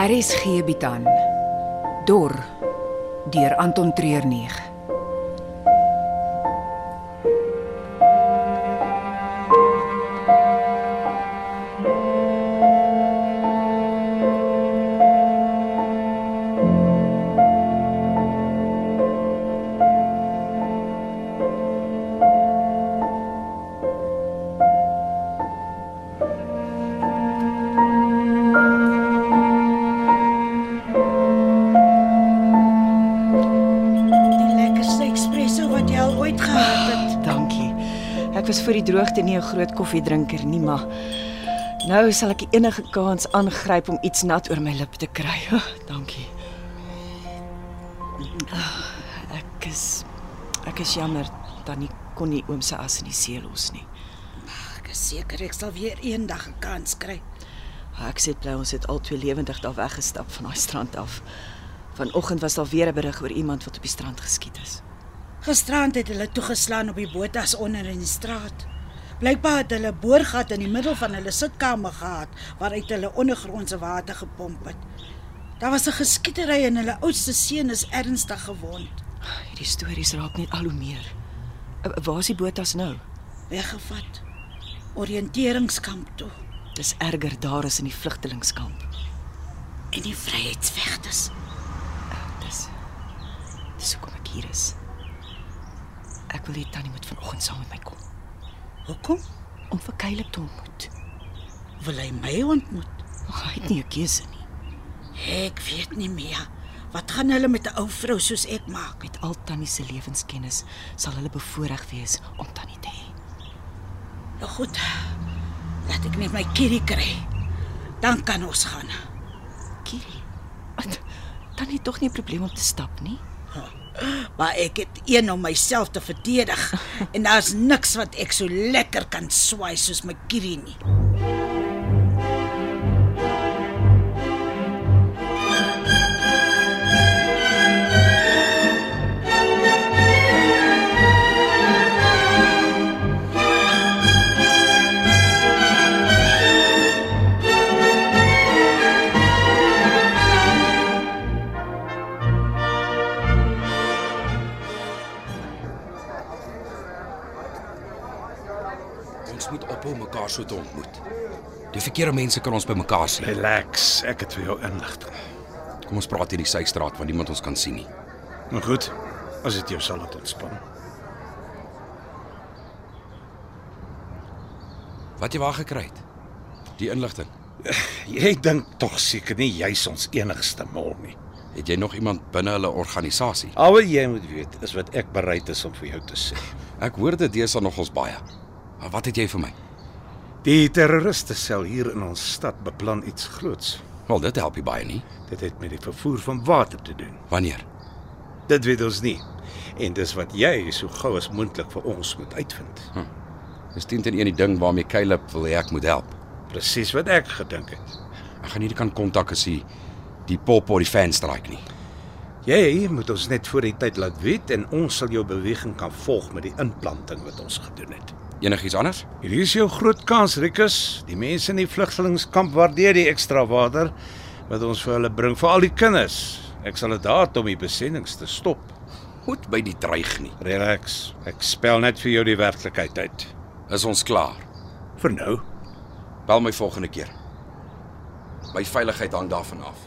RSG bied aan Dor deur Anton Treuer 9. Die lekkerste espresso wat jy al ooit gehad het. Dankie. Ek was vir die droogte nie 'n groot koffiedrinker nie, maar nou sal ek enige kans aangryp om iets nat oor my lip te kry. Oh, dankie. Ah, Ek is ek is jammer dat nie kon nie oom se as in die see los nie. Ah, Ek is seker ek sal weer eendag 'n kans kry. Ah, Ek sê bly ons het al twee lewendig daar weggestap van daai strand af. Vanoggend was daar weer 'n berig oor iemand wat op die strand geskiet is. Gisterand het hulle toegeslaan op die botas onder in die straat. Blykbaar het hulle 'n boorgat in die middel van hulle sitkamer gehad waaruit hulle ondergrondse water gepomp het. Daar was 'n geskietery en hulle oudste seun is ernstig gewond, Hierdie stories raak net al hoe meer. Eh, Waar is die botas nou? weggevat. Oriënteringskamp toe Dis erger daar as in die vlugtelingskamp. en die vryheidsvegters. Dis dis hoekom ek hier is. Ek wil hê Tannie moet vanoggend saam met my kom Hoekom om vir Kylie te ontmoet. wil hy my ontmoet? Ag, hy het nie 'n keuse nie. Ek weet nie meer. Wat gaan hulle met 'n ou vrou soos ek maak? Met al Tannie se lewenskennis sal hulle bevoordeel wees om Tannie te hê. Nou goed. Laat ek net my kierie kry. Dan kan ons gaan. Kiri. Wat? Tannie het tog nie 'n probleem om te stap nie. Maar ek het een om myself te verdedig en daar's niks wat ek so lekker kan swaai soos my kierie nie. Ons moet ophou mekaar so te ontmoet. Die verkeerde mense kan ons bymekaar sien. Relax, ek het vir jou inligting. Kom ons praat hier in die systraat want niemand ons kan sien nie. Maar goed, as dit jou sal laat ontspan. Wat jy waar gekry het? Die inligting. Jy dink tog seker nie jy's ons enigste mol nie. Het jy nog iemand binne hulle organisasie? Al wat jy moet weet is wat ek bereid is om vir jou te sê. Ek hoor dit deesdae nogals baie. Maar wat het jy vir my? Die terroriste sel hier in ons stad beplan iets groots. Wel, dit help nie baie nie. Dit het met die vervoer van water te doen. Wanneer? Dit weet ons nie. En dis wat jy so gou as moontlik vir ons moet uitvind. Dis 10 teen 1 die ding waarmee Caleb wil hê ek moet help. Presies wat ek gedink het. Ek gaan nie kan kontak as hy die pop of die fan strike nie. Jy moet ons net voor die tyd laat weet en ons sal jou beweging kan volg met die implanting wat ons gedoen het. Enigiets anders? Hier is jou groot kans, Rikus. Die mense in die vlugtelingkamp waardeer die ekstra water wat ons vir hulle bring, veral die kinders. Ek sal dit daad om die besendings te stop. Goed by die dreig nie. Relax. Ek spel net vir jou die werklikheid uit. Is ons klaar? Vir nou. Bel my volgende keer. My veiligheid hang daarvan af.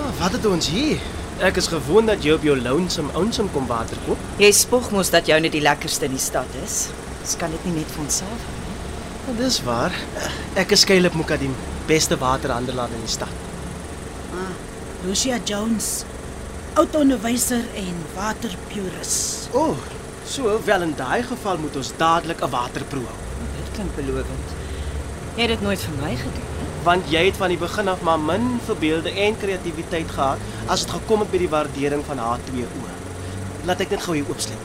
Ah, wat het ons hier? Ek is gewoond dat jy op jou lonesome ounsome kom water koop. Jy spog mos dat jy net die lekkerste in die stad is. Ons kan dit nie net vir onsself hou nie. Nou, dis waar. Ek is Kylie Mukadim, beste waterhandelaar in die stad. Lucia Jones, oud-onderwyser en waterpurist. O, oh, so wel in daai geval moet ons dadelik 'n waterproe hou, Dit klink belovend. Jy het dit nooit vir my gedoen nie. want jy het van die begin af maar min verbeelde en kreatiwiteit gehad as dit gekom het by die waardering van haar twee oë. Laat ek net gou hier oopsluit.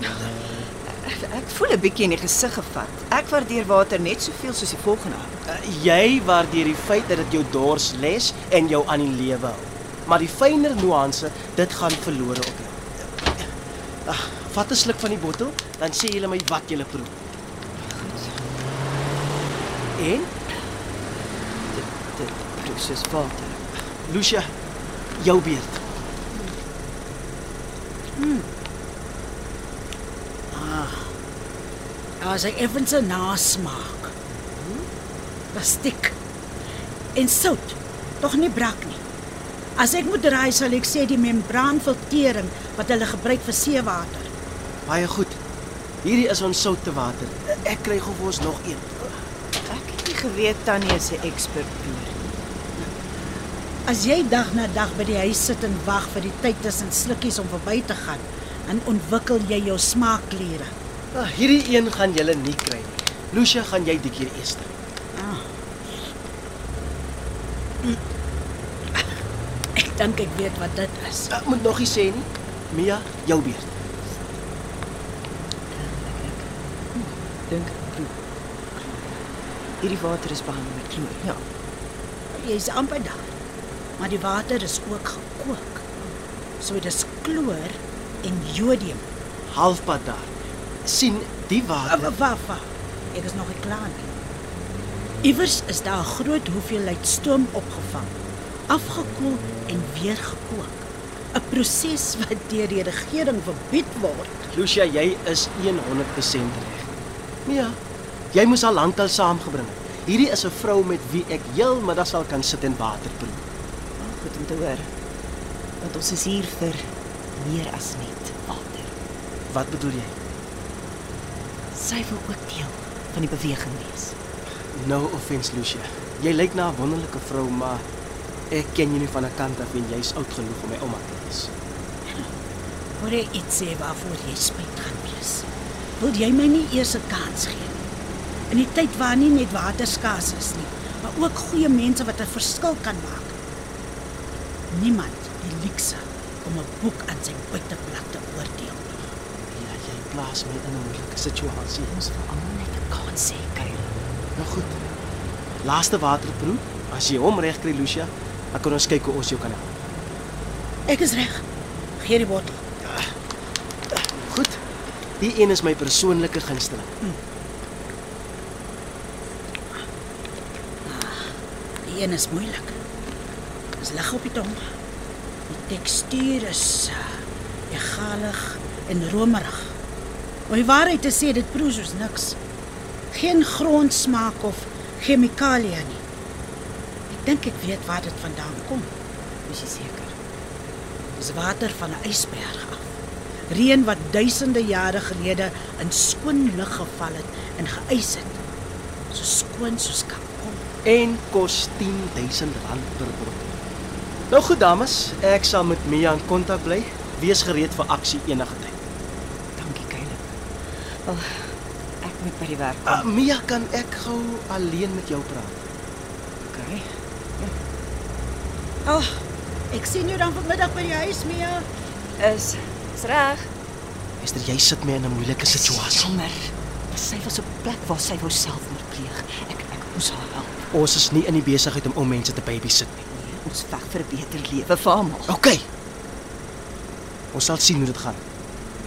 Ek voel 'n bietjie in die gesig gevat. Ek waardeer water net soveel soos die volgende. Uh, jy waardeer die feit dat dit jou dors les en jou aan die lewe hou. Maar die fynere nuance, dit gaan verlore op jou. Ag, vat 'n sluk van die bottel, dan sê jy my wat jy proe. En Dit proe soos water. Lucia, jou beurt. Daar's 'n effense nasmaak. Plastiek en sout, tog nie brak nie. As ek moet raai sal ek sê die membraanfiltering wat hulle gebruik vir seewater. Baie goed. Hierdie is ons soutte water. Ek kry gou vir ons nog een. Ek het nie geweet Tannie is 'n ekspert boer. As jy dag na dag by die huis sit en wag vir die tyd tussen slukkies om verby te gaan, dan ontwikkel jy jou smaakkliere. Ah, hierdie een gaan julle nie kry nie. Lucia, gaan jy die keer eers. Ek dink ek weet wat dit is. Ek Ah, moet nog iets sê nie. Mia, jou beurt. Dink ek proe. Hierdie water is behandel met kloor. Ja. Jy's amper daar. Maar die water is ook gekook. So dis kloor en jodium. halfpad daar. sien die Ah, water. Wafa. Ek is nog nie klaar nie. Iewers is daar 'n groot hoeveelheid stoom opgevang, afgekoel en weer gekook. 'n Proses wat deur die regering verbied word. Lucia, jy is 100% reg. Ja. Jy moes al lankal saamgebring het. Hierdie is 'n vrou met wie ek heelmiddag sal kan sit en water proe. Oh, goed om te hoor. Want ons is hier vir meer as net water. Wat bedoel jy? Sy wil ook deel van die beweging wees. No offense, Lucia. Jy lyk na 'n wonderlike vrou, maar ek ken jou nie van 'n kant af en jy's oud genoeg om my ouma te wees. Hoor jy iets sê waarvoor jy spyt gaan wees? Wil jy my nie eers 'n kans gee nie? In die tyd waar nie net waterskaars is nie, maar ook goeie mense wat 'n verskil kan maak. Niemand die luukse om 'n boek aan sy buiteblad te oordeel nie. Ja, jy plaas my in 'n moeilike situasie. Ons wil almal net 'n kans hê, Kylie. Nou goed. Laaste waterproe. As jy hom reg kry, Lucia, dan kan ons kyk hoe ons jou kan help. Ek is reg. Gee die bottel. Goed. Die een is my persoonlike gunsteling. Die een is moeilik. Dis lig op die tong. Die tekstuur is eh, egalig en romerig. Om die waarheid te sê, dit proe soos niks. Geen grondsmaak of chemikalieë nie. Ek dink ek weet waar dit vandaan kom. Is jy seker? Dis water van 'n ysberg af. Reën wat duisende jare gelede in skoon lug geval het en geëis het. So skoon soos kan kom. en kos R10000 per bottel. Nou goed dames, ek sal met Mia in kontak bly. Wees gereed vir aksie enige tyd. Dankie, Kylie. Wel, ek moet by die werk Uh, Mia, kan ek gou alleen met jou praat? kry. Ag, ek sien jou dan vanmiddag by die huis, Mia. Is is reg. Esther, jy sit my in 'n moeilike situasie. Jammer. Sy was op 'n plek waar sy wou selfmoord pleeg. Ek ek moes haar help. Ons is nie in die besigheid om ou mense te babysit nie. Nee, ons veg vir 'n beter lewe vir almal. OK. Ons sal sien hoe dit gaan.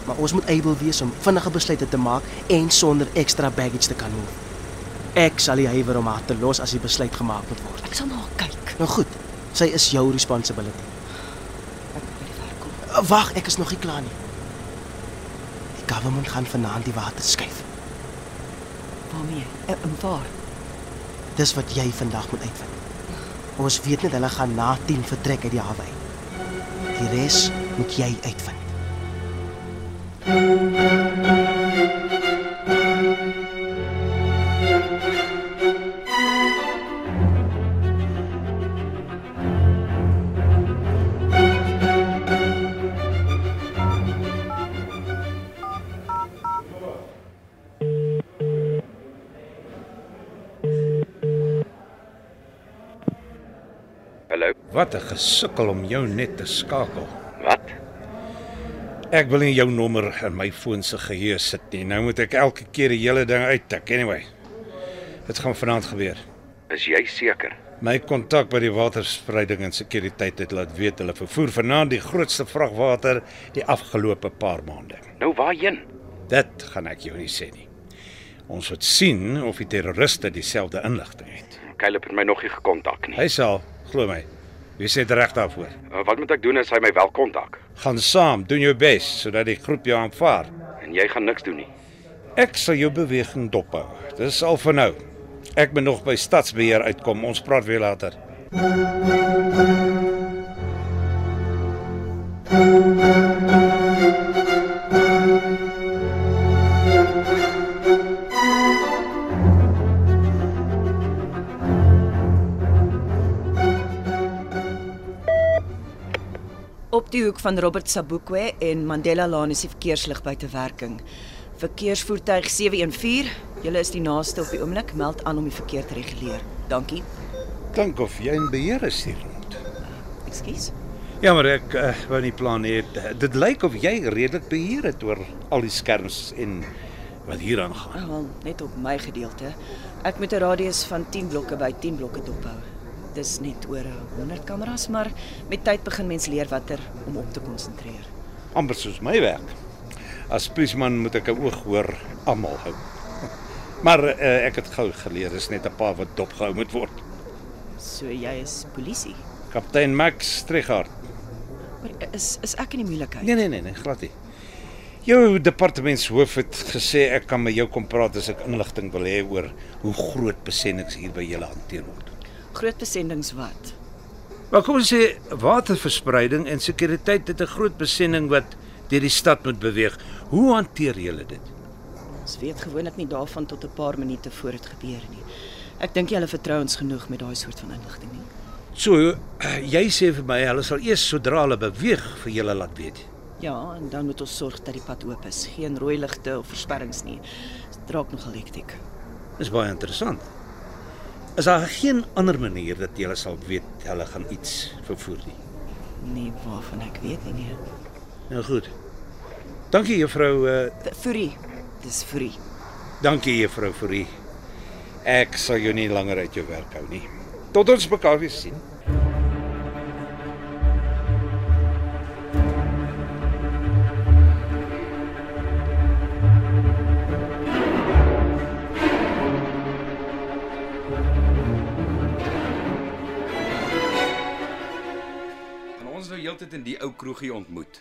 Maar ons moet able wees om vinnige besluite te maak en sonder ekstra baggage te kan move. Ek sal nie huiwer om haar te los as die besluit gemaak moet word. Ek sal na haar kyk. Nou goed, sy is jou responsibility. Ek moet by die werk kom. Uh, Wag, ek is nog nie klaar nie. Die government gaan vanaand die water skuif. Waarmee? En, en waar? Dis wat jy vandag moet uitvind. Ons weet net hulle gaan na 10 vertrek uit die hawe uit. Die res moet jy uitvind. Hallo. Wat 'n gesukkel om jou net te skakel. Wat? Ek wil nie jou nommer in my foon se geheue sit nie. Nou moet ek elke keer die hele ding uittik. Anyway. Dit gaan vanaand gebeur. Is jy seker? My kontak by die waterspreiding en sekuriteit het laat weet hulle vervoer vanaand die grootste vragwater die afgelope paar maande. Nou waarheen? Dit gaan ek jou nie sê nie. Ons moet sien of die terroriste dieselfde inligting het. Caleb het my nog nie gekontak nie. Hy sal, glo my. Wie sê dit reg daarvoor? Uh, Wat moet ek doen as hy my wel kontak? Gaan saam, doen jou bes sodat die groep jou aanvaar. En jy gaan niks doen nie. Ek sal jou beweging dophou. Dis al vir nou. Ek moet nog by stadsbeheer uitkom. Ons praat weer later. Op die hoek van Robert Sabukwe en Mandela Laan is die verkeerslig buite werking. Verkeersvoertuig 714, julle is die naaste op die oomblik, meld aan om die verkeer te reguleer. Dankie. Klink of jy in beheer is hier rond. Ekskuus. Jammer ek uh, wou nie plan hê het- dit lyk of jy redelik beheer het oor al die skerms en wat hier aangaan. Wel, net op my gedeelte. Ek moet 'n radius van 10 blokke by 10 blokke dophou. Dis net oor 100 kameras, maar met tyd begin mens leer watter om op te konsentreer. amper soos my werk. As polisieman moet ek 'n oog hoor almal hou. Maar uh, ek het gou geleer dis net 'n paar wat dopgehou moet word. So jy is polisie. Kaptein Max Strigard. Maar is is ek in die moeilikheid? Nee nee nee, nee glad nie. Jou departementshoof het gesê ek kan met jou kom praat as ek inligting wil hê oor hoe groot besennings hier by julle hanteer word. Groot besendings wat? Maar kom ons sê waterverspreiding en sekuriteit het 'n groot besenning wat deur die stad moet beweeg. Hoe hanteer julle dit? Ons weet gewoonlik nie daarvan tot 'n paar minute voor dit gebeur nie. Ek dink jy hulle vertrou ons genoeg met daai soort van inligting nie. So jy sê vir my hulle sal eers sodra hulle beweeg vir julle laat weet. Ja, en dan moet ons sorg dat die pad oop is. Geen rooi ligte of versperrings nie. Dit raak nogal hektiek. Dis baie interessant. Is daar geen ander manier dat julle sal weet hulle gaan iets vervoer nie? Nee, waarvan ek weet nie. nee. Nou goed. Dankie juffrou, uh, V- Furie. Dis furie. dankie juffrou vir u. Ek sal jou nie langer uit jou werk hou nie. Tot ons mekaar weer sien. Kan ons nou heeltyd in die ou kroegie ontmoet?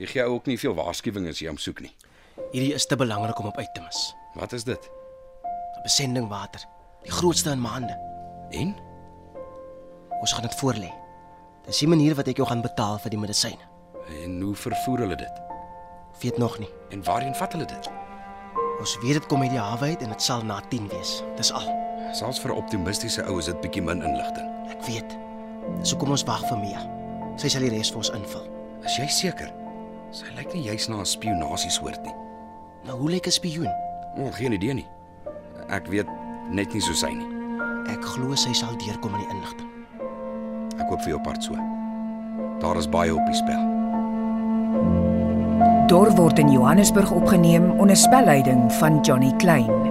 Jy gee ook nie veel waarskuwings as jy hom soek nie. Hierdie is te belangrik om op uit te mis. Wat is dit? 'n Besending water, die grootste in maande. En Ons gaan dit voorlê. Dis die manier wat ek jou gaan betaal vir die medisyne. en hoe vervoer hulle dit? Weet nog nie. En waarheen vat hulle dit? Ons weet dit kom uit die hawe uit en dit sal na 10 wees. Dis al. Selfs vir 'n optimistiese ou is dit bietjie min inligting. Ek weet. Dis hoekom ons wag vir Mia. Sy sal die res vir ons invul. Is jy seker? Sy lyk nie juis na 'n spionasiesoort nie. Nou hoe lyk 'n spioen? Ons geen idee nie. Ek weet net nie so sy nie. Ek glo sy sal deurkom in die inligting. Ek hoop vir jou part so. Daar is baie op die spel. Dor word in Johannesburg opgeneem onder spelleiding van Johnny Klein.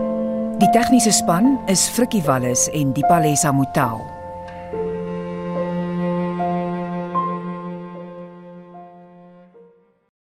Die tegniese span is Frikkie Wallis en Dipalesa Motelo.